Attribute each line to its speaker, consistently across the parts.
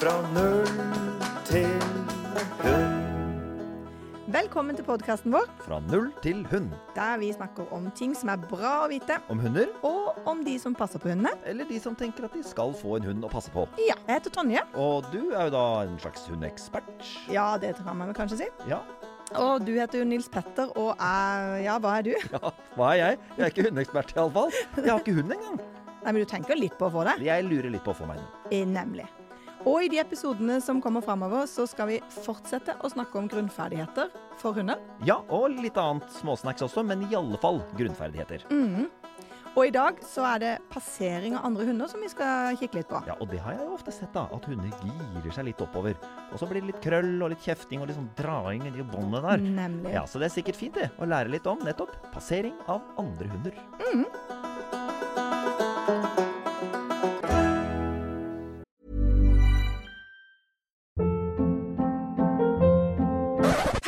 Speaker 1: fra null til hund.
Speaker 2: Velkommen til podkasten vår,
Speaker 1: Fra null til hund.
Speaker 2: der vi snakker om ting som er bra å vite,
Speaker 1: Om hunder,
Speaker 2: og om de som passer på hundene.
Speaker 1: eller de som tenker at de skal få en hund å passe på.
Speaker 2: Ja, Jeg heter Tonje.
Speaker 1: Og du er jo da en slags hundeekspert.
Speaker 2: Ja, det kan man vel kanskje si.
Speaker 1: Ja.
Speaker 2: Og du heter jo Nils Petter, og er Ja, hva er du?
Speaker 1: ja. Hva er jeg? Jeg er ikke hundeekspert iallfall. Jeg har ikke hund engang.
Speaker 2: Nei, men du tenker litt på å få det.
Speaker 1: Jeg lurer litt på å få meg en.
Speaker 2: Eh, Nemlig. Og i de episodene som kommer framover, så skal vi fortsette å snakke om grunnferdigheter for hunder.
Speaker 1: Ja, og litt annet småsnacks også, men i alle fall grunnferdigheter.
Speaker 2: Mhm. Og i dag så er det passering av andre hunder som vi skal kikke litt på.
Speaker 1: Ja, og det har jeg jo ofte sett, da. At hunder girer seg litt oppover. Og så blir det litt krøll og litt kjefting og litt sånn draing i båndet der.
Speaker 2: Nemlig.
Speaker 1: Ja, så det er sikkert fint det, å lære litt om nettopp passering av andre hunder.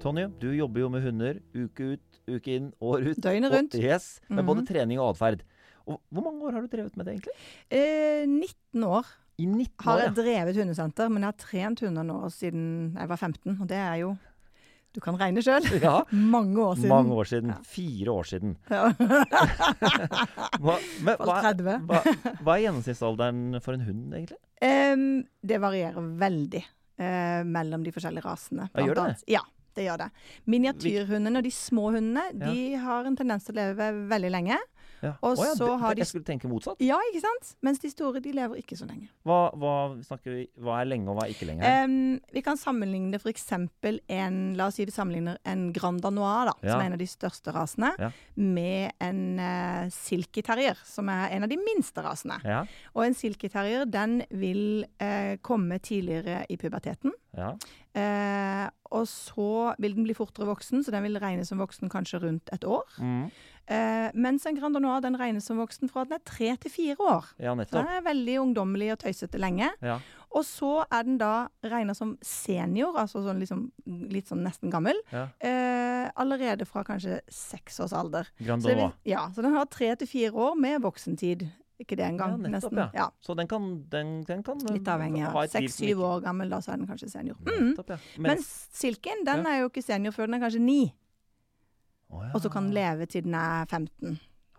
Speaker 1: Tonje, du jobber jo med hunder uke ut, uke inn, år ut.
Speaker 2: Døgnet rundt.
Speaker 1: Og, yes, med
Speaker 2: Mhm.
Speaker 1: både trening og atferd. Og hvor mange år har du drevet med det egentlig?
Speaker 2: Eh, 19 år
Speaker 1: I 19
Speaker 2: har
Speaker 1: år,
Speaker 2: jeg
Speaker 1: ja.
Speaker 2: drevet hundesenter, men jeg har trent hunder nå siden jeg var 15. Og det er jo Du kan regne sjøl.
Speaker 1: ja.
Speaker 2: Mange år siden.
Speaker 1: Mange år siden.
Speaker 2: Ja.
Speaker 1: Fire år siden.
Speaker 2: Ja.
Speaker 1: Hva, men,
Speaker 2: Fall 30.
Speaker 1: hva, hva er gjennomsnittsalderen for en hund, egentlig?
Speaker 2: Em, det varierer veldig eh, mellom de forskjellige rasene.
Speaker 1: Ja, gjør det?
Speaker 2: blant annet. Ja, det gjør det. Miniatyrhundene og de små hundene de har en tendens til å leve veldig lenge.
Speaker 1: Ja.
Speaker 2: Og
Speaker 1: Å ja,
Speaker 2: så
Speaker 1: det-
Speaker 2: har de-
Speaker 1: Jeg skulle tenke motsatt.
Speaker 2: Ja, ikke sant? Mens de store de lever ikke så lenge.
Speaker 1: Hva, hva, snakker vi, hva er lenge og hva er ikke lenge? her?
Speaker 2: Em, vi kan sammenligne f.eks. en La oss si vi sammenligner en Grand Danois, da,
Speaker 1: Ja.
Speaker 2: som er en av de største rasene,
Speaker 1: Ja.
Speaker 2: med en uh, Silky Terrier, som er en av de minste rasene.
Speaker 1: Ja,
Speaker 2: Og en Silky Terrier den vil eh, komme tidligere i puberteten.
Speaker 1: ja.
Speaker 2: Eh, og så vil den bli fortere voksen, så den vil regnes som voksen kanskje rundt et år.
Speaker 1: Mm.
Speaker 2: Eh, mens en Grand Danois den regnes som voksen fra den er tre til fire år.
Speaker 1: ja
Speaker 2: Så
Speaker 1: nettopp.
Speaker 2: den er veldig ungdommelig og tøysete lenge.
Speaker 1: Ja.
Speaker 2: Og så er den da regna som senior, altså sånn liksom, litt sånn nesten gammel,
Speaker 1: Ja.
Speaker 2: eh, allerede fra kanskje seks års alder.
Speaker 1: Grand
Speaker 2: Så, det vil,
Speaker 1: Danois.
Speaker 2: ja, så den har tre til fire år med voksentid. Ikke det engang.
Speaker 1: Ja, nettopp,
Speaker 2: nesten. Ja.
Speaker 1: Så den kan, den, den kan
Speaker 2: Litt avhengig av. Seks-syv
Speaker 1: år.
Speaker 2: år gammel, da så er den kanskje senior. Mm.
Speaker 1: Nettopp, ja.
Speaker 2: Men silken den
Speaker 1: Ja.
Speaker 2: er jo ikke senior før den er kanskje ni,
Speaker 1: Å ja,
Speaker 2: og så kan den leve til den er 15.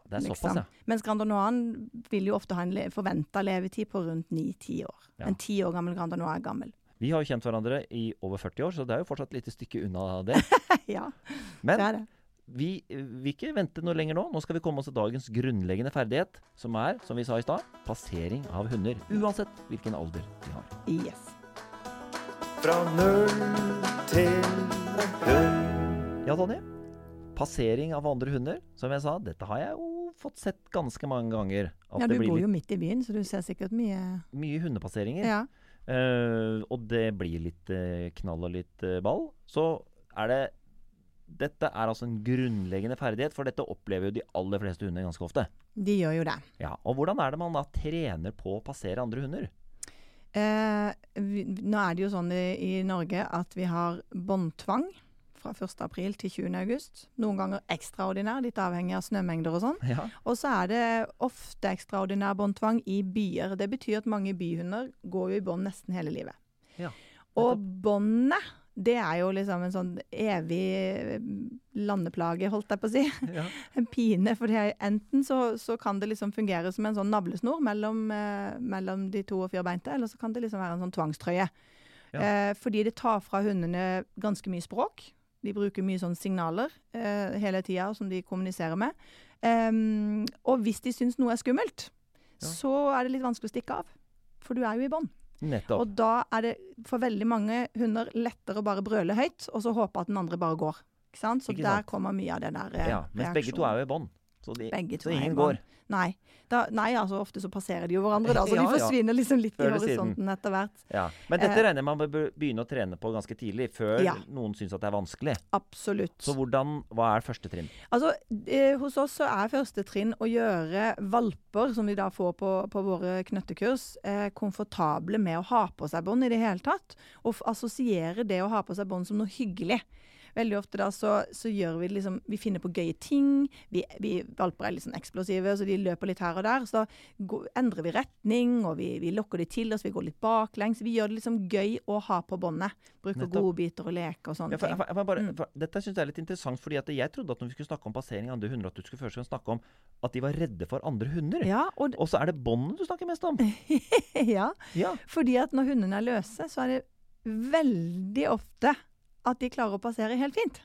Speaker 1: Det er
Speaker 2: liksom.
Speaker 1: såpass, ja.
Speaker 2: Mens Grand Danoisen vil jo ofte ha en forventa levetid på rundt ni-ti år.
Speaker 1: Ja.
Speaker 2: En ti år gammel Grand Danois er gammel.
Speaker 1: Vi har jo kjent hverandre i over 40 år, så det er jo fortsatt et lite stykke unna det.
Speaker 2: ja, det
Speaker 1: Men
Speaker 2: er det.
Speaker 1: vi eh, vil ikke vente noe lenger nå. Nå skal vi komme oss til dagens grunnleggende ferdighet, som er, som vi sa i stad, passering av hunder. Uansett hvilken alder de har.
Speaker 2: Yes.
Speaker 1: Fra null til hund. Ja, Tonje. Passering av andre hunder. Som jeg sa, dette har jeg jo fått sett ganske mange ganger. At
Speaker 2: Ja,
Speaker 1: det
Speaker 2: du
Speaker 1: blir
Speaker 2: bor
Speaker 1: litt
Speaker 2: jo midt i byen, så du ser sikkert mye
Speaker 1: mye hundepasseringer.
Speaker 2: Ja.
Speaker 1: Eh, og det blir litt eh, knall og litt eh, ball. Så er det Dette er altså en grunnleggende ferdighet, for dette opplever jo de aller fleste hunder ganske ofte.
Speaker 2: De gjør jo det.
Speaker 1: Ja, Og hvordan er det man da trener på å passere andre hunder?
Speaker 2: Eh, vi, nå er det jo sånn i, i Norge at vi har båndtvang fra 1. april til 20. august. Noen ganger ekstraordinær, litt avhengig av snømengder og sånn.
Speaker 1: Ja,
Speaker 2: Og så er det ofte ekstraordinær båndtvang i byer. Det betyr at mange byhunder går jo i bånd nesten hele livet.
Speaker 1: Ja,
Speaker 2: og båndet, det er jo liksom en sånn evig landeplage, holdt jeg på å si.
Speaker 1: ja.
Speaker 2: En pine, for enten så, så kan det liksom fungere som en sånn navlesnor mellom, eh, mellom de to og firbeinte, eller så kan det liksom være en sånn tvangstrøye.
Speaker 1: Ja.
Speaker 2: Eh, fordi det tar fra hundene ganske mye språk. De bruker mye sånne signaler eh, hele tida som de kommuniserer med. Ehm, og hvis de syns noe er skummelt,
Speaker 1: Ja.
Speaker 2: så er det litt vanskelig å stikke av. For du er jo i bånd.
Speaker 1: Nettopp.
Speaker 2: Og da er det for veldig mange hunder lettere å bare brøle høyt, og så håpe at den andre bare går. Ikke sant? Så
Speaker 1: Ikke
Speaker 2: der
Speaker 1: sant.
Speaker 2: kommer mye av det der eh,
Speaker 1: ja, mens begge to
Speaker 2: reaksjonen.
Speaker 1: er jo i bånd. Så, de,
Speaker 2: Begge to
Speaker 1: så
Speaker 2: er
Speaker 1: ingen
Speaker 2: en
Speaker 1: går.
Speaker 2: mann. Nei. Da, nei, altså ofte så passerer de jo hverandre, da, så
Speaker 1: Ja,
Speaker 2: de
Speaker 1: ja.
Speaker 2: forsvinner liksom litt
Speaker 1: Før
Speaker 2: i
Speaker 1: eller siden.
Speaker 2: horisonten etter hvert.
Speaker 1: Ja. Men dette
Speaker 2: Eh,
Speaker 1: regner jeg man bør begynne å trene på ganske tidlig, før
Speaker 2: Ja.
Speaker 1: noen syns at det er vanskelig.
Speaker 2: Absolutt.
Speaker 1: Så hvordan, hva er første trinn?
Speaker 2: Altså, eh, Hos oss så er første trinn å gjøre valper, som vi da får på, på våre knøttekurs, eh, komfortable med å ha på seg bånd i det hele tatt. Og f- assosiere det å ha på seg bånd som noe hyggelig. Veldig ofte da så, så gjør vi liksom Vi finner på gøye ting. Vi, vi valper er litt sånn eksplosive, så de løper litt her og der. Så da gå- endrer vi retning, og vi, vi lokker de til oss, vi går litt baklengs. Vi gjør det liksom gøy å ha på båndet. Bruker
Speaker 1: Nettopp.
Speaker 2: godbiter og leker og sånne
Speaker 1: Ja, for,
Speaker 2: ting.
Speaker 1: for, for,
Speaker 2: Mm.
Speaker 1: bare, for, dette syns jeg er litt interessant, fordi at jeg trodde at når vi skulle snakke om passering av andre hunder, at du skulle først og fremst snakke om at de var redde for andre hunder.
Speaker 2: Ja, og,
Speaker 1: Og så er det båndene du snakker mest om.
Speaker 2: ja.
Speaker 1: Ja.
Speaker 2: Fordi at når hundene er løse, så er det veldig ofte at de klarer å passere helt fint.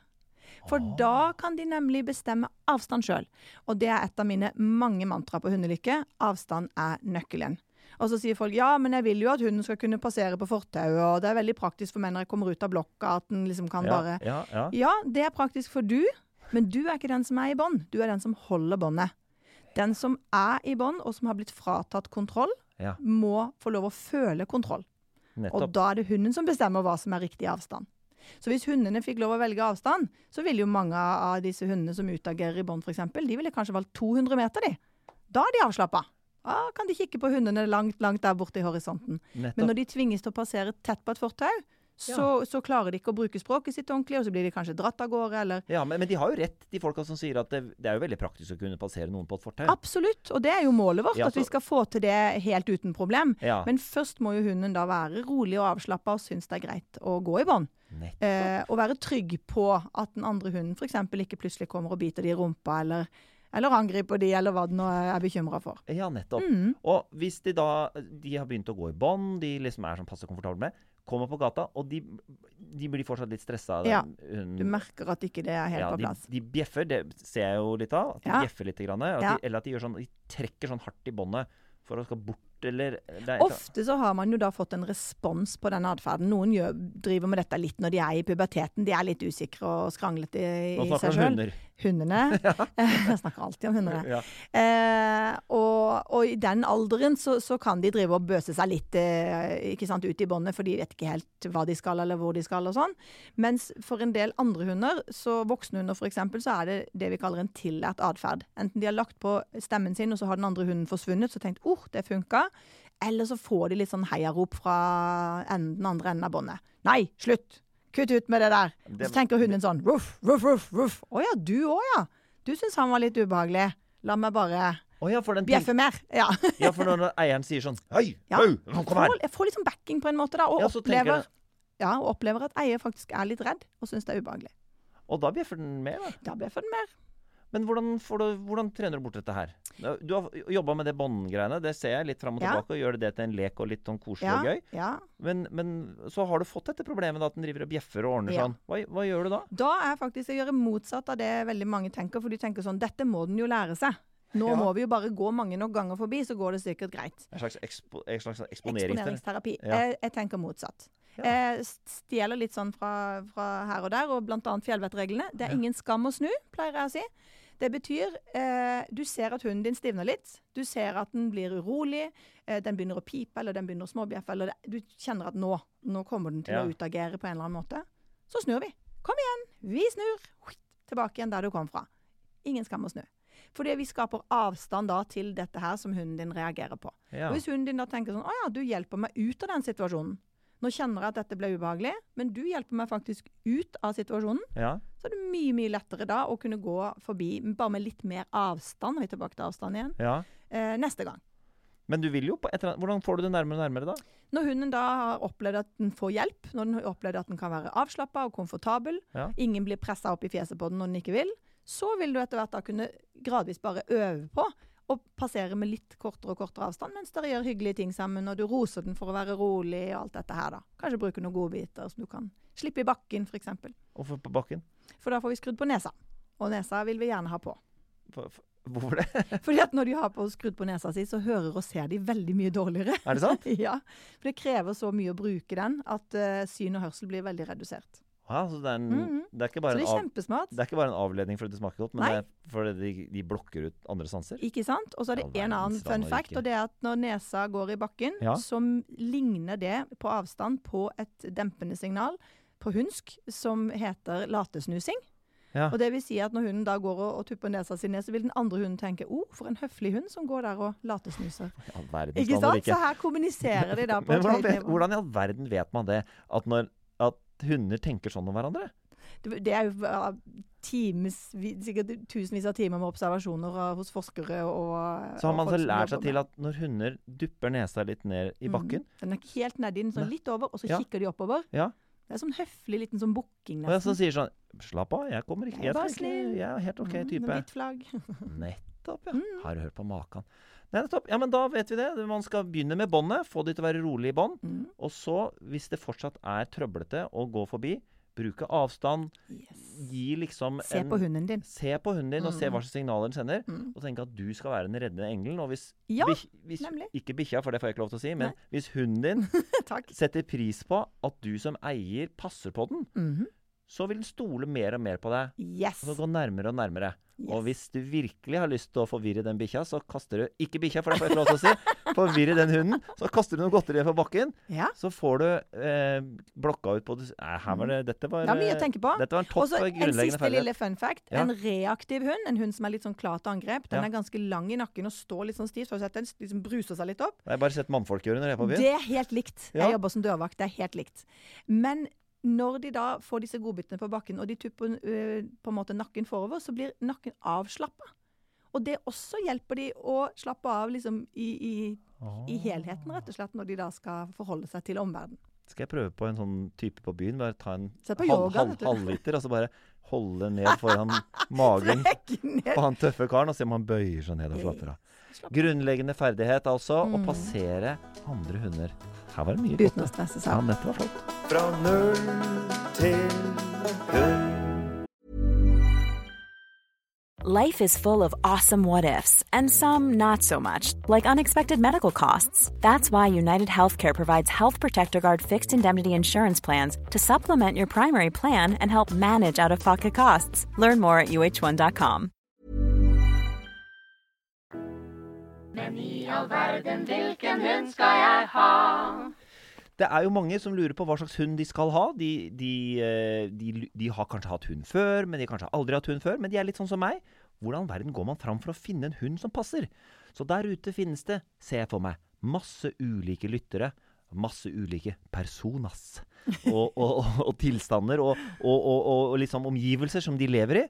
Speaker 2: For
Speaker 1: Ah.
Speaker 2: da kan de nemlig bestemme avstand sjøl. Og det er et av mine mange mantra på Hundelykke. Avstand er nøkkelen. Og så sier folk ja, men jeg vil jo at hunden skal kunne passere på fortauet, og det er veldig praktisk for meg når jeg kommer ut av blokka at den liksom kan
Speaker 1: ja,
Speaker 2: bare
Speaker 1: ja, ja.
Speaker 2: ja, det er praktisk for du, men du er ikke den som er i bånd. Du er den som holder båndet. Den som er i bånd, og som har blitt fratatt kontroll,
Speaker 1: Ja.
Speaker 2: må få lov å føle kontroll. Og
Speaker 1: Nettopp.
Speaker 2: da er det hunden som bestemmer hva som er riktig avstand. Så hvis hundene fikk lov å velge avstand, så ville jo mange av disse hundene som utagerer i bånd f.eks., de ville kanskje valgt 200 meter, de. Da er de avslappa. Da kan de kikke på hundene langt, langt der borte i horisonten. Men
Speaker 1: Nettopp.
Speaker 2: når de tvinges til å passere tett på et fortau, så, så klarer de ikke å bruke språket sitt ordentlig, og så blir de kanskje dratt av gårde, eller
Speaker 1: Ja, men, men de har jo rett, de folka som sier at det, det er jo veldig praktisk å kunne passere noen på et fortau.
Speaker 2: Absolutt, og det er jo målet vårt,
Speaker 1: Ja,
Speaker 2: at vi
Speaker 1: så-
Speaker 2: skal få til det helt uten problem.
Speaker 1: Ja.
Speaker 2: Men først må jo hunden da være rolig og avslappa og synes det er greit å gå i bånd.
Speaker 1: Nett-
Speaker 2: Eh, og være trygg på at den andre hunden f.eks. ikke plutselig kommer og biter de i rumpa, eller, eller angriper de, eller hva den nå er bekymra for.
Speaker 1: Ja, nettopp.
Speaker 2: Mm.
Speaker 1: Og hvis de da de har begynt å gå i bånd, de liksom er sånn passe komfortable med, kommer på gata, og de, de blir fortsatt litt stressa. den
Speaker 2: Ja,
Speaker 1: hunden.
Speaker 2: Du merker at ikke det er helt
Speaker 1: Mm. Ja,
Speaker 2: på
Speaker 1: de,
Speaker 2: plass.
Speaker 1: de bjeffer, det ser jeg jo litt av. At de
Speaker 2: Ja.
Speaker 1: bjeffer litt. Grann, at
Speaker 2: Ja.
Speaker 1: de, eller at de, gjør sånn, de trekker sånn hardt i båndet for å skal bort, eller det er et eller annet.
Speaker 2: Ofte så har man jo da fått en respons på den atferden. Noen gjør, driver med dette litt når de er i puberteten. De er litt usikre og skranglete i,
Speaker 1: Nå
Speaker 2: i
Speaker 1: snakker
Speaker 2: seg
Speaker 1: vi om
Speaker 2: sjøl.
Speaker 1: hunder.
Speaker 2: Hundene. Jeg snakker alltid om hundene.
Speaker 1: Ja.
Speaker 2: Eh, og, og i den alderen så, så kan de drive og bøse seg litt eh, ikke sant, ut i båndet, for de vet ikke helt hva de skal eller hvor de skal og sånn. Mens for en del andre hunder, så voksne hunder f.eks., så er det det vi kaller en tillært atferd. Enten de har lagt på stemmen sin, og så har den andre hunden forsvunnet, så tenkt 'oh, det funka'. Eller så får de litt sånn heiarop fra enden, den andre enden av båndet. 'Nei, slutt! Kutt ut med det der!' Og
Speaker 1: Det-
Speaker 2: så tenker hunden sånn 'ruff, ruff, ruff'. ruff. 'Å ja, du òg, ja'. Du syns han var litt ubehagelig. La meg bare
Speaker 1: Å ja, for den
Speaker 2: bjeffe mer. Ja.
Speaker 1: ja, for når eieren sier sånn Hei,
Speaker 2: Ja.
Speaker 1: au, kom her!
Speaker 2: Får, jeg får litt sånn backing på en måte, da. Og,
Speaker 1: Ja, så tenker jeg-
Speaker 2: opplever, ja, og opplever at eier faktisk er litt redd og syns det er ubehagelig.
Speaker 1: Og da bjeffer den mer, da.
Speaker 2: Da bjeffer den mer.
Speaker 1: Men hvordan, får du, hvordan trener du bort dette her? Du har jobba med det båndgreiene, det ser jeg litt fram og
Speaker 2: Ja.
Speaker 1: tilbake, og gjør det til en lek og litt sånn koselig
Speaker 2: Ja,
Speaker 1: og gøy.
Speaker 2: ja.
Speaker 1: Men, men så har du fått dette problemet da, at den driver og bjeffer og ordner
Speaker 2: Ja.
Speaker 1: sånn. Hva, hva gjør du da?
Speaker 2: Da er faktisk å gjøre motsatt av det veldig mange tenker, for de tenker sånn Dette må den jo lære seg. Nå
Speaker 1: Ja.
Speaker 2: må vi jo bare gå mange nok ganger forbi, så går det sikkert greit.
Speaker 1: En slags, ekspo, en slags eksponeringsterapi?
Speaker 2: Eksponeringsterapi.
Speaker 1: Ja.
Speaker 2: Jeg, jeg tenker motsatt.
Speaker 1: Ja.
Speaker 2: Jeg stjeler litt sånn fra, fra her og der, og bl.a. fjellvettreglene. Det er ingen skam å snu, pleier jeg å si. Det betyr eh, du ser at hunden din stivner litt. Du ser at den blir urolig. Eh, den begynner å pipe, eller den begynner å småbjeffe. Eller det, du kjenner at nå, nå kommer den til
Speaker 1: Ja.
Speaker 2: å utagere på en eller annen måte. Så snur vi. Kom igjen! Vi snur! Huit, Tilbake igjen der du kom fra. Ingen skam å snu. Fordi vi skaper avstand da til dette her som hunden din reagerer på.
Speaker 1: Ja.
Speaker 2: Og hvis hunden din da tenker sånn Å ja, du hjelper meg ut av den situasjonen. Nå kjenner jeg at dette ble ubehagelig, men du hjelper meg faktisk ut av situasjonen.
Speaker 1: ja.
Speaker 2: Så er det mye, mye lettere da å kunne gå forbi bare med litt mer avstand. Vi er tilbake til avstand igjen.
Speaker 1: ja.
Speaker 2: Eh, neste gang.
Speaker 1: Men du vil jo på et eller annet Hvordan får du det nærmere og nærmere, da?
Speaker 2: Når hunden da har opplevd at den får hjelp, når den har opplevd at den kan være avslappa og komfortabel,
Speaker 1: Ja.
Speaker 2: ingen blir pressa opp i fjeset på den når den ikke vil, så vil du etter hvert da kunne gradvis bare øve på å passere med litt kortere og kortere avstand, mens dere gjør hyggelige ting sammen, og du roser den for å være rolig og alt dette her, da. Kanskje bruke noen godbiter som du kan slippe i bakken, f.eks.
Speaker 1: Hvorfor på bakken?
Speaker 2: For da får vi skrudd på nesa. Og nesa vil vi gjerne ha på.
Speaker 1: For- for- Hvorfor det?
Speaker 2: Fordi at når de har på skrudd på nesa si, så hører og ser de veldig mye dårligere.
Speaker 1: Er det sant?
Speaker 2: ja, For det krever så mye å bruke den at eh, syn og hørsel blir veldig redusert.
Speaker 1: Ja, så det er, en,
Speaker 2: Mhm.
Speaker 1: det, er ikke
Speaker 2: Så
Speaker 1: bare
Speaker 2: det
Speaker 1: en
Speaker 2: er
Speaker 1: av,
Speaker 2: kjempesmart.
Speaker 1: det er ikke bare en avledning fordi det smaker godt, men
Speaker 2: Nei.
Speaker 1: det er fordi de, de blokker ut andre sanser.
Speaker 2: Ikke sant? Og så er
Speaker 1: All
Speaker 2: det en annen
Speaker 1: verdens land
Speaker 2: fun
Speaker 1: og
Speaker 2: fact,
Speaker 1: rike.
Speaker 2: og det er at når nesa går i bakken,
Speaker 1: Ja.
Speaker 2: så m- ligner det på avstand på et dempende signal på hunsk som heter latesnusing.
Speaker 1: Ja.
Speaker 2: Og det vil si at når hunden da går og, og tupper nesa si ned, så vil den andre hunden tenke 'Å, oh, for en høflig hund som går der og latesnuser'.
Speaker 1: All verdens
Speaker 2: Ikke
Speaker 1: land og
Speaker 2: sant? Så
Speaker 1: rike.
Speaker 2: her kommuniserer de da på
Speaker 1: Men
Speaker 2: et
Speaker 1: hvordan,
Speaker 2: høyt
Speaker 1: vet,
Speaker 2: nivå.
Speaker 1: hvordan i all verden vet man det? At, når, at hunder tenker sånn om hverandre?
Speaker 2: Det det er jo ja, times, sikkert tusenvis av timer med observasjoner eh, hos forskere og eh,
Speaker 1: Så har
Speaker 2: og
Speaker 1: man
Speaker 2: folk
Speaker 1: så
Speaker 2: som
Speaker 1: lært
Speaker 2: jobber Mhm.
Speaker 1: seg til at når hunder dupper nesa litt ned i bakken
Speaker 2: Den er ikke helt nedi, den sånn
Speaker 1: Nei.
Speaker 2: litt over, og så
Speaker 1: Ja.
Speaker 2: kikker de oppover.
Speaker 1: Ja.
Speaker 2: Det er sånn høflig liten sånn bukking,
Speaker 1: Og jeg så
Speaker 2: nesten.
Speaker 1: sier sånn Slapp av, jeg kommer ikke.
Speaker 2: Jeg er
Speaker 1: Jeg,
Speaker 2: bare
Speaker 1: skal ikke-
Speaker 2: snill.
Speaker 1: jeg er helt OK
Speaker 2: Mm, med
Speaker 1: type.
Speaker 2: Hvitt flagg.
Speaker 1: Nettopp, ja. Har du hørt på maken? Nei, nettopp. Ja, men da vet vi det. Man skal begynne med båndet. Få de til å være rolig i bånd.
Speaker 2: Mm.
Speaker 1: Og så, hvis det fortsatt er trøblete å gå forbi, bruke avstand.
Speaker 2: Yes.
Speaker 1: Gi liksom
Speaker 2: Se på hunden din.
Speaker 1: Se på hunden din og se hva slags signaler den sender.
Speaker 2: Mm.
Speaker 1: Og tenke at du skal være den reddende engelen. Og hvis,
Speaker 2: Ja,
Speaker 1: bikk- hvis
Speaker 2: nemlig.
Speaker 1: Ikke bikkja, for det får jeg ikke lov til å si. Men
Speaker 2: Nei.
Speaker 1: hvis hunden din
Speaker 2: Takk.
Speaker 1: setter pris på at du som eier passer på den,
Speaker 2: Mhm.
Speaker 1: så vil den stole mer og mer på deg.
Speaker 2: Yes.
Speaker 1: Og så gå nærmere og nærmere. Og
Speaker 2: yes.
Speaker 1: hvis du virkelig har lyst til å forvirre den bikkja, så kaster du Ikke bikkja, for det får jeg ikke lov til å si. Forvirre den hunden. Så kaster du noe godteri på bakken.
Speaker 2: Ja,
Speaker 1: Så får du eh, blokka ut på det Nei, her var det Dette var
Speaker 2: Mm. det er mye
Speaker 1: eh,
Speaker 2: å tenke på.
Speaker 1: Dette var en
Speaker 2: Og
Speaker 1: topp
Speaker 2: så en
Speaker 1: grunnleggende
Speaker 2: siste
Speaker 1: ferdighet.
Speaker 2: lille fun fact.
Speaker 1: Ja.
Speaker 2: En reaktiv hund, en hund som er litt sånn klar til angrep, den
Speaker 1: Ja.
Speaker 2: er ganske lang i nakken og står litt sånn stivt. Har du sett den liksom bruser seg litt opp?
Speaker 1: Jeg har bare sett mannfolk gjøre når jeg er på byen.
Speaker 2: Det er helt likt.
Speaker 1: Ja.
Speaker 2: Jeg jobber som dørvakt, det er helt likt. Men når de da får disse godbitene på bakken, og de tupper øh, på en måte nakken forover, så blir nakken avslappa. Og det også hjelper de å slappe av liksom i, i,
Speaker 1: Ah.
Speaker 2: i helheten, rett og slett, når de da skal forholde seg til omverdenen.
Speaker 1: Skal jeg prøve på en sånn type på byen? Bare ta en
Speaker 2: Se på
Speaker 1: halv-
Speaker 2: yoga,
Speaker 1: halv-
Speaker 2: vet du.
Speaker 1: halvliter, og så bare holde ned foran magen
Speaker 2: Trekk ned.
Speaker 1: på han tøffe karen og se om han bøyer seg ned og slapper av. Grunnleggende ferdighet altså, å passere andre hunder. Her var det mye
Speaker 2: Uten
Speaker 1: godt.
Speaker 2: å stresse
Speaker 1: Ja,
Speaker 2: seg.
Speaker 1: dette var flott.
Speaker 3: Fra null til hund.
Speaker 4: Life is full of awesome what ifs, and some not so much, like unexpected medical costs. That's why United Healthcare provides Health Protector Guard fixed indemnity insurance plans to supplement your primary plan and help manage out of pocket costs. Learn more at uh1.com.
Speaker 1: Det er jo mange som lurer på hva slags hund de skal ha. De, de, eh, de, lu- de har kanskje hatt hund før, men de har kanskje aldri hatt hund før. Men de er litt sånn som meg. Hvordan i verden går man fram for å finne en hund som passer? Så der ute finnes det, ser jeg for meg, masse ulike lyttere. Masse ulike personas og, og, og, og tilstander og, og, og, og, og liksom omgivelser som de lever i.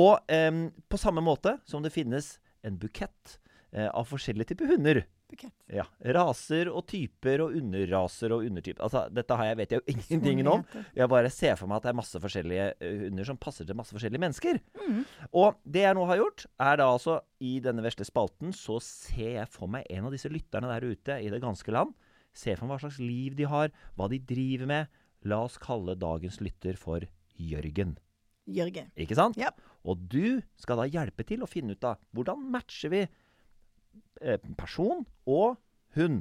Speaker 1: Og em, på samme måte som det finnes en bukett eh, av forskjellige typer hunder.
Speaker 2: Bukett.
Speaker 1: Ja. Raser og typer og underraser og undertyper. Altså, dette har jeg, vet jeg jo ingenting om. Jeg bare ser for meg at det er masse forskjellige eh, hunder som passer til masse forskjellige mennesker. Og det jeg nå har gjort, er da altså I denne vesle spalten så ser jeg for meg en av disse lytterne der ute i det ganske land. Ser for meg hva slags liv de har, hva de driver med. La oss kalle dagens lytter for Jørgen.
Speaker 2: Jørgen.
Speaker 1: Ikke sant?
Speaker 2: Ja.
Speaker 1: Og du skal da hjelpe til å finne ut av hvordan matcher vi eh, person og hund.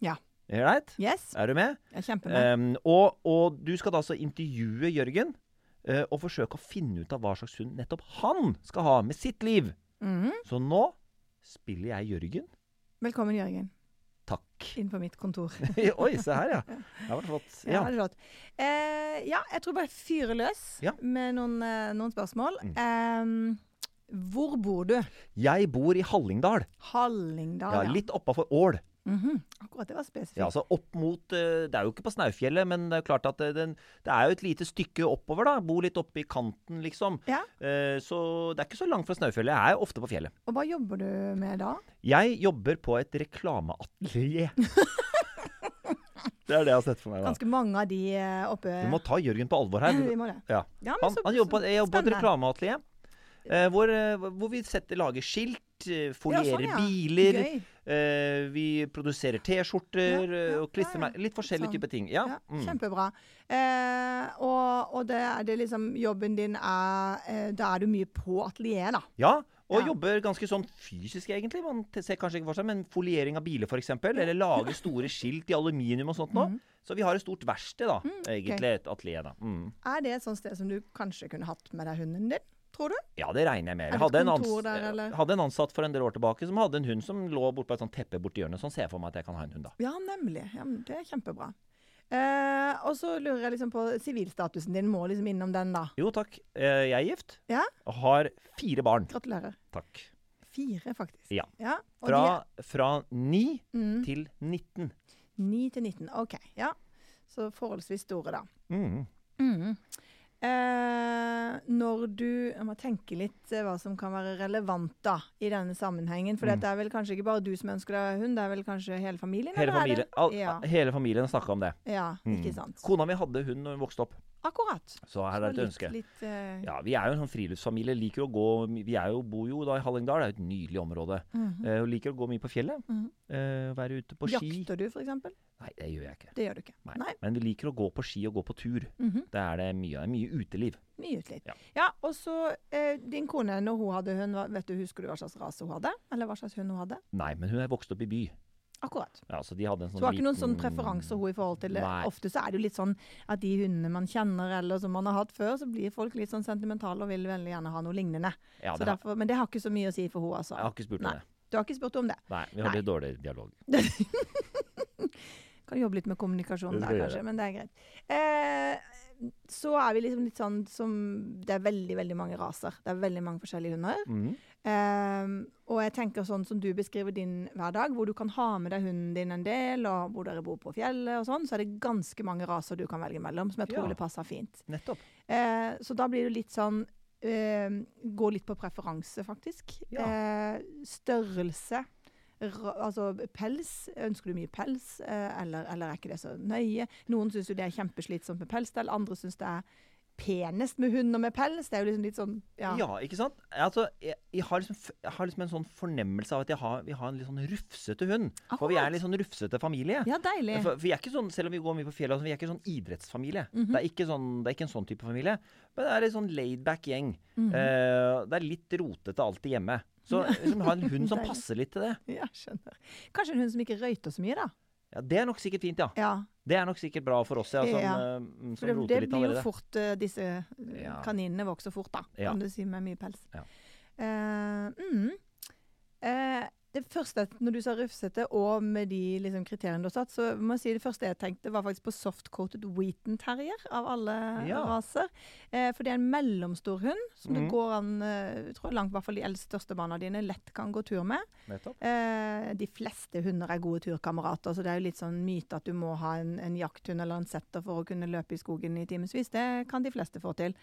Speaker 2: Ja.
Speaker 1: Er det greit?
Speaker 2: Yes,
Speaker 1: Er du med?
Speaker 2: jeg er kjempemann.
Speaker 1: Ehm, og, og du skal da altså intervjue Jørgen eh, og forsøke å finne ut av hva slags hund nettopp han skal ha med sitt liv.
Speaker 2: Mhm.
Speaker 1: Så nå spiller jeg Jørgen.
Speaker 2: Velkommen, Jørgen,
Speaker 1: Takk.
Speaker 2: inn på mitt kontor.
Speaker 1: Oi, se her, ja. Det var flott.
Speaker 2: Ja,
Speaker 1: Ja.
Speaker 2: det er flott. Eh, ja, jeg tror bare fyrer løs
Speaker 1: Ja. Mm.
Speaker 2: med noen, eh, noen spørsmål. Eh, hvor bor du?
Speaker 1: Jeg bor i Hallingdal.
Speaker 2: Hallingdal,
Speaker 1: Ja, litt oppafor Ål.
Speaker 2: Mhm. Akkurat, det var spesifikt.
Speaker 1: Ja, altså opp mot eh, Det er jo ikke på Snaufjellet, men det er jo klart at det, den, det er jo et lite stykke oppover, da. Bo litt oppe i kanten, liksom.
Speaker 2: Ja,
Speaker 1: Eh, så det er ikke så langt fra Snaufjellet. Jeg er jo ofte på fjellet.
Speaker 2: Og hva jobber du med da?
Speaker 1: Jeg jobber på et reklameatelier. det er det jeg har sett for meg, da.
Speaker 2: Ganske mange av de eh, oppe
Speaker 1: Du må ta Jørgen på alvor her.
Speaker 2: Vi må det.
Speaker 1: Ja.
Speaker 2: Ja, men
Speaker 1: Han,
Speaker 2: så-
Speaker 1: han jobber på,
Speaker 2: så
Speaker 1: jeg jobber på et
Speaker 2: spennende.
Speaker 1: reklameatelier. eh, hvor, eh, hvor vi setter, lager skilt, eh, folierer
Speaker 2: ja.
Speaker 1: biler,
Speaker 2: Gøy.
Speaker 1: eh, vi produserer T-skjorter
Speaker 2: Ja, ja,
Speaker 1: eh, og klistremerker.
Speaker 2: ja, ja.
Speaker 1: Litt forskjellige
Speaker 2: Sånn.
Speaker 1: typer ting. Ja.
Speaker 2: Ja,
Speaker 1: mm.
Speaker 2: Kjempebra. Eh, og og det, er det liksom jobben din er eh, Da er du mye på atelieret, da.
Speaker 1: Ja, Og jobber ganske sånn fysisk, egentlig. Man t- ser kanskje ikke for seg, men foliering av biler, f.eks. Eller lage store skilt i aluminium og sånt nå.
Speaker 2: Mhm.
Speaker 1: Så vi har et stort verksted, da.
Speaker 2: Mm,
Speaker 1: egentlig. Et atelier, da. Mm.
Speaker 2: Er det et sånt sted som du kanskje kunne hatt med deg hunden din? Tror du?
Speaker 1: Ja, det regner jeg med.
Speaker 2: Er
Speaker 1: Jeg
Speaker 2: det et
Speaker 1: hadde en,
Speaker 2: kontor
Speaker 1: ans
Speaker 2: der, eller?
Speaker 1: hadde en ansatt for en del år tilbake som hadde en hund som lå bortpå et sånt teppe borti hjørnet. Sånn ser jeg for meg at jeg kan ha en hund, da.
Speaker 2: Ja, nemlig. Ja, men det er kjempebra. Eh, og så lurer jeg liksom på sivilstatusen din. Må liksom innom den, da.
Speaker 1: Jo takk, Eh, jeg er gift
Speaker 2: Ja,
Speaker 1: og har fire barn.
Speaker 2: Gratulerer.
Speaker 1: Takk.
Speaker 2: Fire, faktisk.
Speaker 1: Ja.
Speaker 2: og
Speaker 1: Fra,
Speaker 2: de er Mm.
Speaker 1: fra 9 til 19.
Speaker 2: 9 til 19. OK. Ja. Så forholdsvis store, da.
Speaker 1: Mm.
Speaker 2: Eh, når du Jeg må tenke litt eh, hva som kan være relevant da, i denne sammenhengen.
Speaker 1: Mm.
Speaker 2: For det er vel kanskje ikke bare du som ønsker deg hund, det er vel kanskje hele familien?
Speaker 1: Hele,
Speaker 2: eller er
Speaker 1: familien,
Speaker 2: det-
Speaker 1: all,
Speaker 2: Ja,
Speaker 1: hele familien snakka om det.
Speaker 2: ja
Speaker 1: Mm.
Speaker 2: ikke sant.
Speaker 1: Kona mi hadde hund når hun vokste opp,
Speaker 2: Akkurat.
Speaker 1: så her er
Speaker 2: Så
Speaker 1: det et ønske.
Speaker 2: Litt, litt, eh,
Speaker 1: Ja, Vi er jo en sånn friluftsfamilie. Liker å gå Vi er jo, bor jo da i Hallingdal, det er jo et nydelig område. Eh, og liker å gå mye på fjellet.
Speaker 2: Mhm.
Speaker 1: eh, være ute på ski.
Speaker 2: Jakter du, for eksempel?
Speaker 1: Nei, det gjør jeg ikke.
Speaker 2: Det gjør du ikke.
Speaker 1: Nei. Men vi liker å gå på ski og gå på tur.
Speaker 2: Mhm.
Speaker 1: Det er det mye av. Mye uteliv.
Speaker 2: Mye uteliv.
Speaker 1: Ja.
Speaker 2: Ja. og så eh, din kone, når hun hadde hund, hva- vet du, husker du hva slags rase hun hadde? Eller hva slags hund hun hadde?
Speaker 1: Nei, men hun er vokst opp i by.
Speaker 2: Akkurat.
Speaker 1: Ja, så de hadde en sånn
Speaker 2: Så hun har ikke noen sånn
Speaker 1: liten-
Speaker 2: preferanser hun i forhold til det.
Speaker 1: Nei.
Speaker 2: Ofte så er det jo litt sånn at de hundene man kjenner eller som man har hatt før, så blir folk litt sånn sentimentale og vil veldig gjerne ha noe lignende.
Speaker 1: Ja,
Speaker 2: så
Speaker 1: det har,
Speaker 2: derfor, men det har ikke så mye å si for hun altså.
Speaker 1: jeg har ikke spurt
Speaker 2: Nei.
Speaker 1: henne.
Speaker 2: Du har ikke spurt om det.
Speaker 1: Nei, vi hadde dårlig dialog.
Speaker 2: Kan jobbe litt med kommunikasjon
Speaker 1: Det
Speaker 2: der,
Speaker 1: skal jeg
Speaker 2: kanskje, men det er greit. Eh, så er vi liksom litt sånn som Det er veldig, veldig mange raser. Det er veldig mange forskjellige hunder.
Speaker 1: Mhm.
Speaker 2: Ehm, og jeg tenker sånn som du beskriver din hverdag, hvor du kan ha med deg hunden din en del, og hvor dere bor på fjellet og sånn, så er det ganske mange raser du kan velge mellom, som jeg tror
Speaker 1: Ja.
Speaker 2: det passer fint.
Speaker 1: Nettopp.
Speaker 2: Eh, så da blir det litt sånn ehm, Gå litt på preferanse, faktisk.
Speaker 1: Ja.
Speaker 2: Eh, størrelse. Ra, altså pels. Ønsker du mye pels, eh, eller, eller er ikke det så nøye? Noen syns jo det er kjempeslitsomt med pelsstell, andre syns det er penest med hund og med pels. Det er jo liksom litt sånn
Speaker 1: Ja.
Speaker 2: ja.
Speaker 1: ikke sant? Altså, jeg, jeg, har liksom, f- jeg har liksom en sånn fornemmelse av at jeg har, vi har en litt sånn rufsete hund. For vi er en litt sånn rufsete familie.
Speaker 2: Ja, deilig.
Speaker 1: For, for vi er ikke sånn, Selv om vi går mye på fjellet, og sånn, vi er ikke sånn idrettsfamilie.
Speaker 2: Mhm.
Speaker 1: det, er ikke sånn, det er ikke en sånn type familie. Men det er en sånn laid-back gjeng.
Speaker 2: Mhm.
Speaker 1: Eh, det er litt rotete alltid hjemme. Så liksom, ha en hund som
Speaker 2: Deilig.
Speaker 1: passer litt til det.
Speaker 2: Ja, skjønner. Kanskje en hund som ikke røyter så mye, da.
Speaker 1: Ja, Det er nok sikkert fint, ja.
Speaker 2: Ja,
Speaker 1: Det er nok sikkert bra for oss, ja, som,
Speaker 2: Ja.
Speaker 1: eh, mm, som
Speaker 2: for det,
Speaker 1: roter
Speaker 2: det
Speaker 1: litt
Speaker 2: blir jo
Speaker 1: allerede.
Speaker 2: fort eh, Disse eh,
Speaker 1: Ja.
Speaker 2: kaninene vokser fort, da,
Speaker 1: Ja.
Speaker 2: kan du si, med mye pels.
Speaker 1: Ja.
Speaker 2: Eh, mm. Eh, det første, når du sa rufsete, og med de liksom, kriteriene du har satt, så må jeg si det første jeg tenkte, var faktisk på soft-coated Wheaton terrier, av alle
Speaker 1: Ja.
Speaker 2: raser. Eh, for det er en mellomstor hund, som det
Speaker 1: Mhm.
Speaker 2: går an eh, jeg tror langt, i hvert fall de eldste største barna dine, lett kan gå tur med.
Speaker 1: Nettopp.
Speaker 2: Eh, de fleste hunder er gode turkamerater, så det er jo litt sånn myte at du må ha en, en jakthund eller en setter for å kunne løpe i skogen i timevis. Det kan de fleste få til.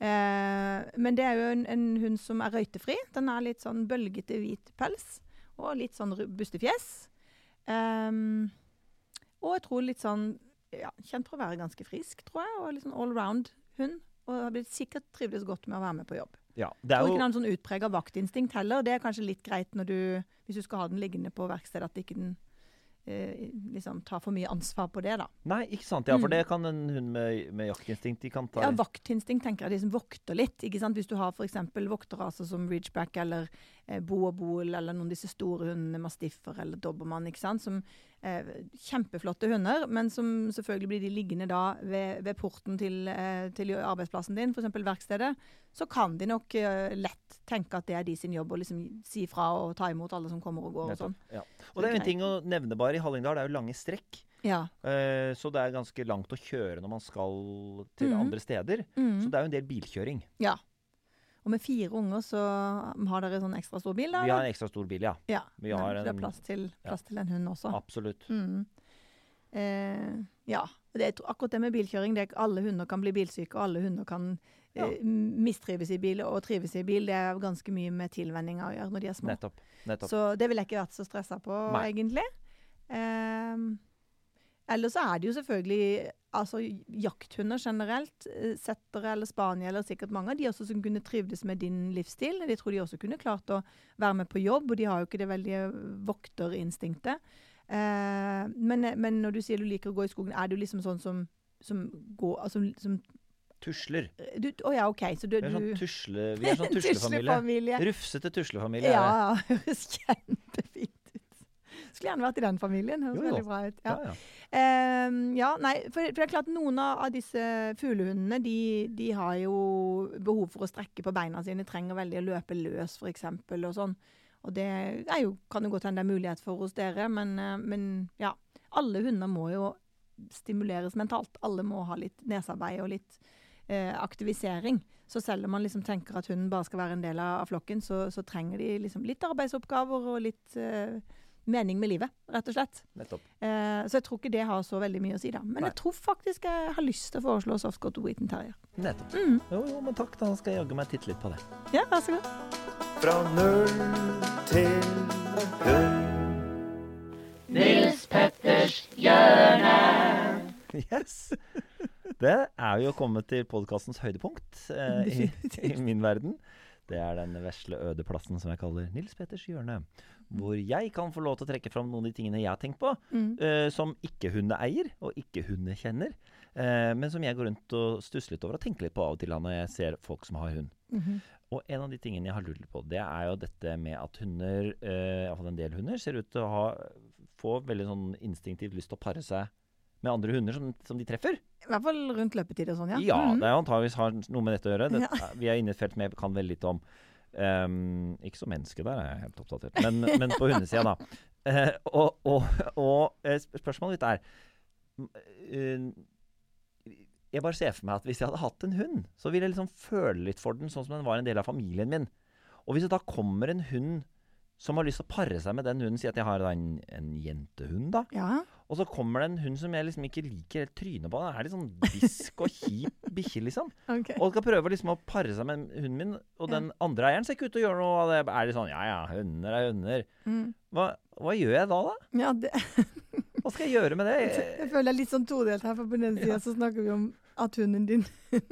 Speaker 2: Eh, men det er jo en, en hund som er røytefri. Den er litt sånn bølgete hvit pels og litt sånn ru- bustefjes. Ehm, og jeg tror litt sånn ja, Kjent for å være ganske frisk, tror jeg, og litt sånn allround hund. Og har blitt sikkert trivdes godt med å være med på jobb.
Speaker 1: Ja, det er
Speaker 2: Jeg tror ikke
Speaker 1: jo,
Speaker 2: den har sånn utprega vaktinstinkt heller. Det er kanskje litt greit når du, hvis du skal ha den liggende på verkstedet, at ikke den eh, liksom tar for mye ansvar på det. da.
Speaker 1: nei, ikke sant, ja, for det kan en hund med, med jaktinstinkt de kan ta
Speaker 2: Mm. Ja, Vaktinstinkt tenker jeg de som vokter litt. ikke sant? Hvis du har f.eks. vokteraser som Ridgeback eller eh, Boabool eller noen av disse store hundene, mastiffer eller dobbermann, ikke sant? som eh, kjempeflotte hunder, men som selvfølgelig blir de liggende da ved, ved porten til, eh, til arbeidsplassen din, f.eks. verkstedet, så kan de nok eh, lett tenke at det er de sin jobb å liksom si fra og ta imot alle som kommer og går og
Speaker 1: Nettopp,
Speaker 2: sånn.
Speaker 1: Ja. Og det er jo en
Speaker 2: greit.
Speaker 1: ting å nevne bare. I Hallingdal det er jo lange strekk.
Speaker 2: Ja.
Speaker 1: eh, Så det er ganske langt å kjøre når man skal til
Speaker 2: Mhm.
Speaker 1: andre steder. Så det er jo en del bilkjøring.
Speaker 2: ja. Og med fire unger så har dere sånn ekstra stor bil, da?
Speaker 1: Vi har
Speaker 2: eller?
Speaker 1: en ekstra stor bil, ja.
Speaker 2: Ja,
Speaker 1: Vi
Speaker 2: men
Speaker 1: har
Speaker 2: det er
Speaker 1: en-
Speaker 2: plass til, plass til en hund også.
Speaker 1: Absolutt.
Speaker 2: Mm. Eh, ja. Det, jeg tror akkurat det med bilkjøring, det er alle hunder kan bli bilsyke, og alle hunder kan
Speaker 1: Ja.
Speaker 2: eh, mistrives i bil og trives i bil. Det er ganske mye med tilvenninger å gjøre når de er små.
Speaker 1: Nettopp. Nettopp.
Speaker 2: Så det ville jeg ikke vært så stressa på,
Speaker 1: Nei.
Speaker 2: egentlig. Ehm, eller så er det jo selvfølgelig altså, jakthunder generelt, eh, settere eller spaniere eller sikkert mange av de også som kunne trivdes med din livsstil. De tror de også kunne klart å være med på jobb, og de har jo ikke det eh, veldige vokterinstinktet. Eh, men, men når du sier du liker å gå i skogen, er det jo liksom sånn som, som, går, altså, som
Speaker 1: Tusler.
Speaker 2: Du, å ja, OK. Så du,
Speaker 1: Vi er sånn,
Speaker 2: du
Speaker 1: tusle, vi er sånn tuslefamilie. Rufsete tuslefamilie.
Speaker 2: Ja,
Speaker 1: er det.
Speaker 2: ja. Høres kjempefint ut. Skulle gjerne vært i den familien. Høres
Speaker 1: Jo, jo.
Speaker 2: veldig bra ut. Ja.
Speaker 1: Ja, ja.
Speaker 2: Ehm, ja, nei, for, for det er klart noen av av disse fuglehundene de, de har jo behov for å strekke på beina sine, trenger veldig å løpe løs f.eks. og sånn. Og det er jo, kan jo godt hende det er mulighet for hos dere, men, eh, men ja. Alle hunder må jo stimuleres mentalt. Alle må ha litt nesearbeid og litt eh, aktivisering. Så selv om man liksom tenker at hunden bare skal være en del av av flokken, så, så trenger de liksom litt arbeidsoppgaver og litt eh, mening med livet, rett og slett.
Speaker 1: Nettopp.
Speaker 2: Eh, så jeg tror ikke det har så veldig mye å si, da. Men
Speaker 1: Nei.
Speaker 2: jeg tror faktisk jeg har lyst til å foreslå Softcot Wheaton Terrier.
Speaker 1: Nettopp.
Speaker 2: Mhm.
Speaker 1: Jo, jo, men takk. Da skal jeg jaggu meg titte litt på det.
Speaker 2: Ja, vær så god.
Speaker 3: Fra null til hund.
Speaker 1: Yes! Det er jo kommet til podkastens høydepunkt eh, i, i min verden. Det er den vesle øde plassen som jeg kaller Nils Petters hjørne. Hvor jeg kan få lov til å trekke fram noen av de tingene jeg har tenkt på,
Speaker 2: Mm.
Speaker 1: eh, som ikke hundeeier og ikke hundekjenner. Eh, men som jeg går rundt og stusser litt over og tenker litt på av og til når jeg ser folk som har hund.
Speaker 2: Mm-hmm.
Speaker 1: Og en av de tingene jeg har lurt litt på, det er jo dette med at hunder, eh, iallfall en del hunder, ser ut til å ha, få veldig sånn instinktivt lyst til å pare seg med andre hunder som, som de treffer.
Speaker 2: I hvert fall rundt løpetid og sånn, ja.
Speaker 1: Ja,
Speaker 2: Mhm.
Speaker 1: det er antageligvis har noe med dette å gjøre. Det,
Speaker 2: Ja.
Speaker 1: Vi er inne i et felt som jeg kan veldig litt om. Ehm, ikke som menneske, der er jeg helt oppdatert, men, men på hundesida, da. Eh, og og, og eh, sp- spørsmålet mitt er mm, eh, Jeg bare ser for meg at hvis jeg hadde hatt en hund, så ville jeg liksom føle litt for den, sånn som den var en del av familien min. Og hvis det da kommer en hund som har lyst til å pare seg med den hunden, si at jeg har da en, en jentehund, da.
Speaker 2: Ja.
Speaker 1: Og så kommer det en hund som jeg liksom ikke liker helt trynet på. Den er litt sånn bisk og kjip bikkje, liksom.
Speaker 2: ok.
Speaker 1: Og skal prøve liksom å pare seg med hunden min, og den andre eieren ser ikke ut til å gjøre noe av det. Er litt sånn ja ja, hunder er hunder.
Speaker 2: Mm.
Speaker 1: Hva, hva gjør jeg da, da?
Speaker 2: ja det,
Speaker 1: Hva skal jeg gjøre med det?
Speaker 2: jeg føler jeg er litt sånn todelt her, for på den ene sida så snakker vi om at hunden din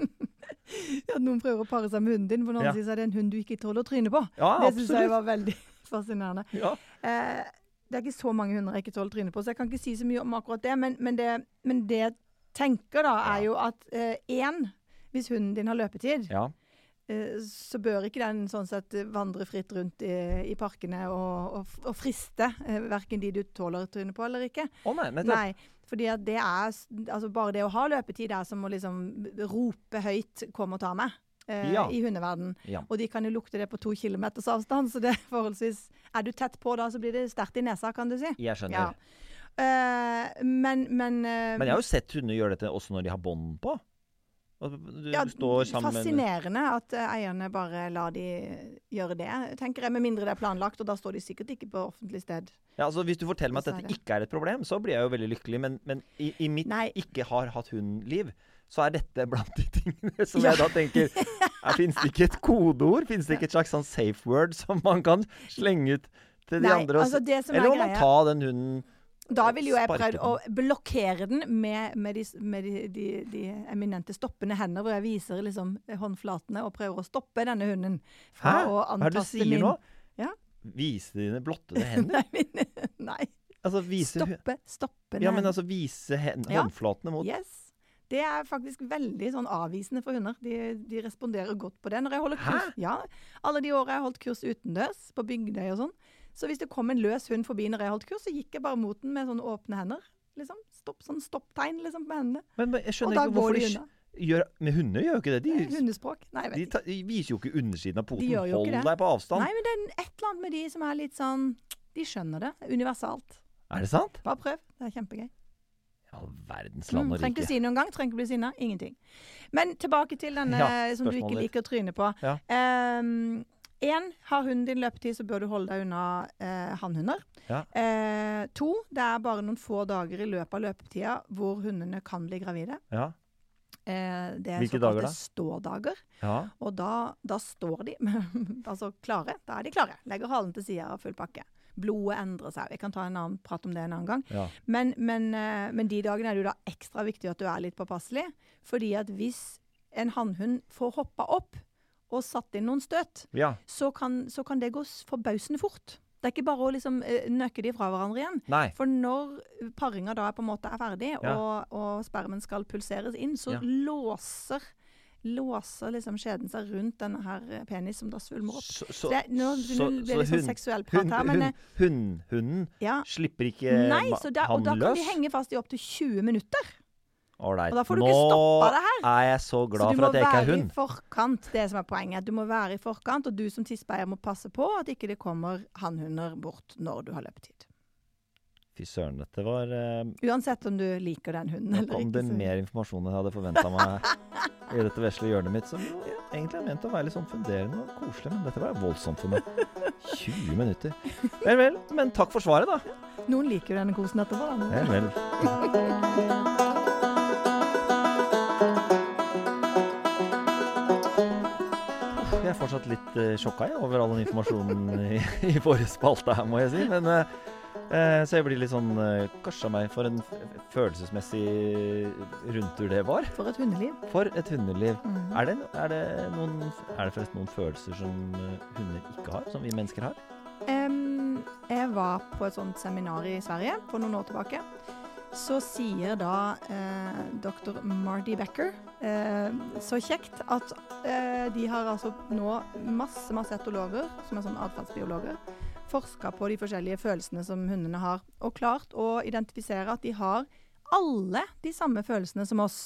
Speaker 2: At noen prøver å pare seg med hunden din, på den
Speaker 1: Ja.
Speaker 2: andre siden så er det en hund du ikke tåler å tryne på.
Speaker 1: Ja,
Speaker 2: det syns jeg
Speaker 1: absolutt.
Speaker 2: var veldig fascinerende.
Speaker 1: Ja.
Speaker 2: Eh, det er ikke så mange hunder jeg ikke tåler trynet på, så jeg kan ikke si så mye om akkurat det. Men, men, det, men det jeg tenker da, er jo at én, hvis hunden din har løpetid,
Speaker 1: ja.
Speaker 2: eh, så bør ikke den sånn sett vandre fritt rundt i, i parkene og, og, og friste eh, verken de du tåler trynet på eller ikke.
Speaker 1: Å nei, nettopp.
Speaker 2: Nei, fordi at det er s- altså Bare det å ha løpetid er som å liksom rope høyt 'kom og ta meg' eh,
Speaker 1: Ja.
Speaker 2: i hundeverden.
Speaker 1: Ja.
Speaker 2: Og de kan jo lukte det på to kilometers avstand, så det er forholdsvis Er du tett på da, så blir det sterkt i nesa, kan du si.
Speaker 1: Jeg skjønner.
Speaker 2: Eh, men men, eh,
Speaker 1: Men jeg har jo sett hunder gjøre dette også når de har bånd på. Og Du
Speaker 2: ja,
Speaker 1: står sammen
Speaker 2: Fascinerende at eh, eierne bare lar de eh, gjøre det, tenker jeg. Med mindre det er planlagt, og da står de sikkert ikke på offentlig sted.
Speaker 1: ja, altså, Hvis du forteller meg at dette
Speaker 2: Dessverre.
Speaker 1: ikke er et problem, så blir jeg jo veldig lykkelig. Men, men i, i mitt
Speaker 2: Nei.
Speaker 1: ikke har hatt hund-liv, så er dette blant de tingene som
Speaker 2: Ja.
Speaker 1: jeg da tenker Her fins det ikke et kodeord? Fins det ikke et slags sånn safe word som man kan slenge ut til de
Speaker 2: Nei,
Speaker 1: andre? og s-
Speaker 2: altså det som er
Speaker 1: Eller må man
Speaker 2: greia-
Speaker 1: ta den hunden
Speaker 2: Da ville jo jeg
Speaker 1: Sparke
Speaker 2: prøvd å blokkere den med, med, de, med de, de, de eminente stoppende hender, hvor jeg viser liksom håndflatene og prøver å stoppe denne hunden
Speaker 1: Hæ?
Speaker 2: fra å
Speaker 1: Hva er det du
Speaker 2: antaste
Speaker 1: sier
Speaker 2: min
Speaker 1: nå?
Speaker 2: Ja.
Speaker 1: Vise dine blottede hender?
Speaker 2: Nei, min, nei.
Speaker 1: Altså vise hu-
Speaker 2: stoppe stoppende
Speaker 1: Ja, men
Speaker 2: hender.
Speaker 1: altså vise hen
Speaker 2: Ja.
Speaker 1: håndflatene mot
Speaker 2: Yes. Det er faktisk veldig sånn avvisende for hunder. De, de responderer godt på det. Når jeg holder
Speaker 1: Hæ?
Speaker 2: kurs, ja, Alle de åra jeg har holdt kurs utendørs, på Bygdøy og sånn. Så hvis det kom en løs hund forbi når jeg holdt kurs, så gikk jeg bare mot den med sånne åpne hender. Liksom. Stopp, sånn stopptegn liksom, på hendene.
Speaker 1: Men men jeg
Speaker 2: Og
Speaker 1: skjønner
Speaker 2: da
Speaker 1: ikke
Speaker 2: går
Speaker 1: hvorfor
Speaker 2: de
Speaker 1: de
Speaker 2: unna.
Speaker 1: sk- gjør Men hunder gjør jo ikke det. De,
Speaker 2: Hundespråk? Nei,
Speaker 1: de, sånn.
Speaker 2: jeg vet ikke.
Speaker 1: ta, de viser jo ikke undersiden av poten.
Speaker 2: gjør jo
Speaker 1: Hold
Speaker 2: ikke det.
Speaker 1: deg på avstand.
Speaker 2: Nei, men det er et eller annet med de som er litt sånn De skjønner det. Universalt.
Speaker 1: Er det sant?
Speaker 2: Bare prøv. Det er kjempegøy.
Speaker 1: Ja, verdens
Speaker 2: Mm,
Speaker 1: land og
Speaker 2: trenger ikke
Speaker 1: rike.
Speaker 2: si noen gang, trenger ikke bli sinna. Ingenting. Men tilbake til denne
Speaker 1: Ja,
Speaker 2: som du ikke
Speaker 1: spørsmålet ditt.
Speaker 2: liker å tryne på.
Speaker 1: Ja.
Speaker 2: Ehm, en, har hunden din løpetid, så bør du holde deg unna eh, hannhunder.
Speaker 1: Ja.
Speaker 2: Eh, to, det er bare noen få dager i løpet av løpetida hvor hundene kan bli gravide.
Speaker 1: Ja.
Speaker 2: Eh, det er
Speaker 1: Hvilke
Speaker 2: såkalte
Speaker 1: dager da?
Speaker 2: stådager.
Speaker 1: ja.
Speaker 2: Og da, da står de altså klare. Da er de klare. Legger halen til sida og full pakke. Blodet endrer seg. Vi kan ta en annen prat om det en annen gang.
Speaker 1: Ja.
Speaker 2: Men, men, eh, men de dagene er det jo da ekstra viktig at du er litt påpasselig. Fordi at hvis en hannhund får hoppa opp og satt inn noen støt,
Speaker 1: ja.
Speaker 2: så kan, så kan det gå s- forbausende fort. Det er ikke bare å liksom eh, nøkke de fra hverandre igjen.
Speaker 1: Nei.
Speaker 2: For når paringa da på en måte er ferdig,
Speaker 1: Ja.
Speaker 2: og, og spermen skal pulseres inn, så
Speaker 1: Ja.
Speaker 2: låser låser liksom skjeden seg rundt denne her eh, penis som da svulmer opp.
Speaker 1: Så,
Speaker 2: Så det, nå
Speaker 1: så-
Speaker 2: begynner det å bli
Speaker 1: så
Speaker 2: litt sånn
Speaker 1: hun- hun-
Speaker 2: seksuell prat her, men
Speaker 1: hun-
Speaker 2: eh,
Speaker 1: hun- Hunden
Speaker 2: ja.
Speaker 1: slipper ikke
Speaker 2: Nei,
Speaker 1: eh, ma-
Speaker 2: så da,
Speaker 1: han
Speaker 2: og da kan de
Speaker 1: løs.
Speaker 2: henge fast i opptil 20 minutter.
Speaker 1: Ålreit.
Speaker 2: og da får du
Speaker 1: Nå
Speaker 2: ikke stoppa det her.
Speaker 1: er jeg så glad for at jeg ikke er
Speaker 2: Så du må være
Speaker 1: hund.
Speaker 2: i forkant, det som er poenget. Du må være i forkant, og du som tisseeier må passe på at ikke det kommer hannhunder bort når du har løpetid.
Speaker 1: Fy søren, dette var eh,
Speaker 2: Uansett om du liker den hunden
Speaker 1: Nå
Speaker 2: eller
Speaker 1: kom
Speaker 2: ikke.
Speaker 1: det
Speaker 2: så-
Speaker 1: mer informasjon enn jeg hadde forventa meg i dette vesle hjørnet mitt, som jo egentlig er ment å være litt sånn funderende og koselig, men dette var voldsomt for meg. 20 minutter. Vel, vel. Men takk for svaret, da.
Speaker 2: Noen liker jo denne kosen etterpå. da, men-
Speaker 1: Vel, vel. Jeg er fortsatt litt eh, sjokka jeg, over all den informasjonen i, i forrige spalte her, må jeg si. Men, eh, eh, så jeg blir litt sånn eh, Kanskje meg for en f- følelsesmessig rundtur det var.
Speaker 2: For et hundeliv.
Speaker 1: For et hundeliv.
Speaker 2: Mm.
Speaker 1: Er det, er det, noen, er det forresten noen følelser som eh, hunder ikke har, som vi mennesker har?
Speaker 2: Em, jeg var på et sånt seminar i Sverige for noen år tilbake. Så sier da eh, dr. Marty Becker eh, så kjekt at eh, de har altså nå masse, masse etologer, som er sånn atferdsbiologer, forska på de forskjellige følelsene som hundene har, og klart å identifisere at de har alle de samme følelsene som oss.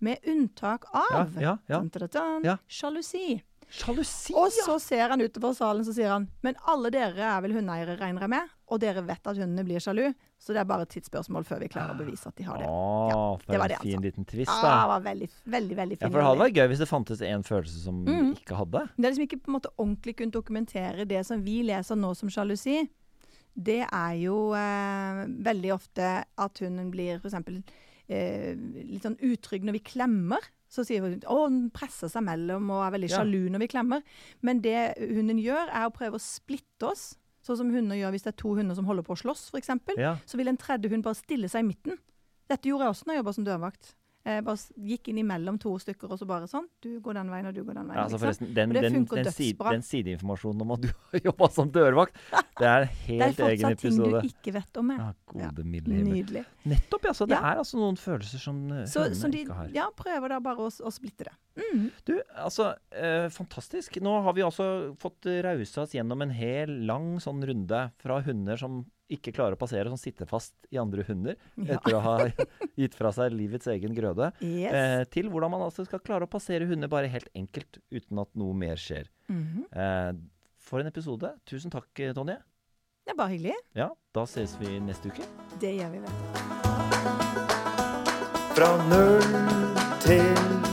Speaker 2: Med unntak av
Speaker 1: ja, ja.
Speaker 2: Dun-dun-dun,
Speaker 1: Ja.
Speaker 2: sjalusi.
Speaker 1: Sjalusi!
Speaker 2: Og så ser han utover salen så sier han Men alle dere er vel hundeeiere, regner jeg med? Og dere vet at hundene blir sjalu, så det er bare et tidsspørsmål før vi klarer å bevise at de har det.
Speaker 1: Å,
Speaker 2: det
Speaker 1: for
Speaker 2: var
Speaker 1: en
Speaker 2: det han
Speaker 1: fin
Speaker 2: sa.
Speaker 1: liten twist,
Speaker 2: Ah, det
Speaker 1: da.
Speaker 2: var veldig, veldig, veldig
Speaker 1: Ja,
Speaker 2: fin
Speaker 1: for det hadde
Speaker 2: idé.
Speaker 1: vært gøy hvis det fantes en følelse som
Speaker 2: Mm.
Speaker 1: du ikke hadde.
Speaker 2: Men Det er liksom ikke på en måte ordentlig kunne dokumentere det som vi leser nå som sjalusi. Det er jo eh, veldig ofte at hunden blir f.eks. Eh, litt sånn utrygg når vi klemmer. Så sier hun å, den presser seg mellom og er veldig
Speaker 1: Ja.
Speaker 2: sjalu når vi klemmer. Men det hunden gjør, er å prøve å splitte oss. Sånn som hunder gjør hvis det er to hunder som holder på å slåss, f.eks.
Speaker 1: Ja.
Speaker 2: Så vil en tredje hund bare stille seg i midten. Dette gjorde jeg også når jeg jobba som dørvakt. Jeg bare s- gikk inn imellom to stykker og så bare sånn. Du går den veien, og du går den veien.
Speaker 1: Ja, altså
Speaker 2: liksom.
Speaker 1: forresten, den,
Speaker 2: Og det
Speaker 1: den,
Speaker 2: funker
Speaker 1: den, side,
Speaker 2: dødsbra.
Speaker 1: den sideinformasjonen om at du har jobba som dørvakt, det er en
Speaker 2: Det er
Speaker 1: helt egen
Speaker 2: fortsatt ting du
Speaker 1: episode. Ah,
Speaker 2: ikke vet om meg.
Speaker 1: Ja, gode milde himmel.
Speaker 2: Nydelig.
Speaker 1: Nettopp, ja. Så det
Speaker 2: Ja.
Speaker 1: er altså noen følelser som eh,
Speaker 2: Så, så
Speaker 1: hundene
Speaker 2: de
Speaker 1: ikke har.
Speaker 2: ja, prøver da bare å, s- å splitte det.
Speaker 1: Du, altså, eh, fantastisk. Nå har vi altså fått eh, rausa oss gjennom en hel lang sånn runde fra hunder som ikke klarer å passere, som sitter fast i andre hunder
Speaker 2: Ja.
Speaker 1: etter å ha gitt fra seg livets egen grøde,
Speaker 2: Yes.
Speaker 1: eh, til hvordan man altså skal klare å passere hunder bare helt enkelt, uten at noe mer skjer.
Speaker 2: Mhm.
Speaker 1: Eh, for en episode. Tusen takk, eh, Tonje.
Speaker 2: Det er bare hyggelig.
Speaker 1: Ja, da ses vi neste uke.
Speaker 2: Det gjør vi, vet du.
Speaker 3: Fra null til hund.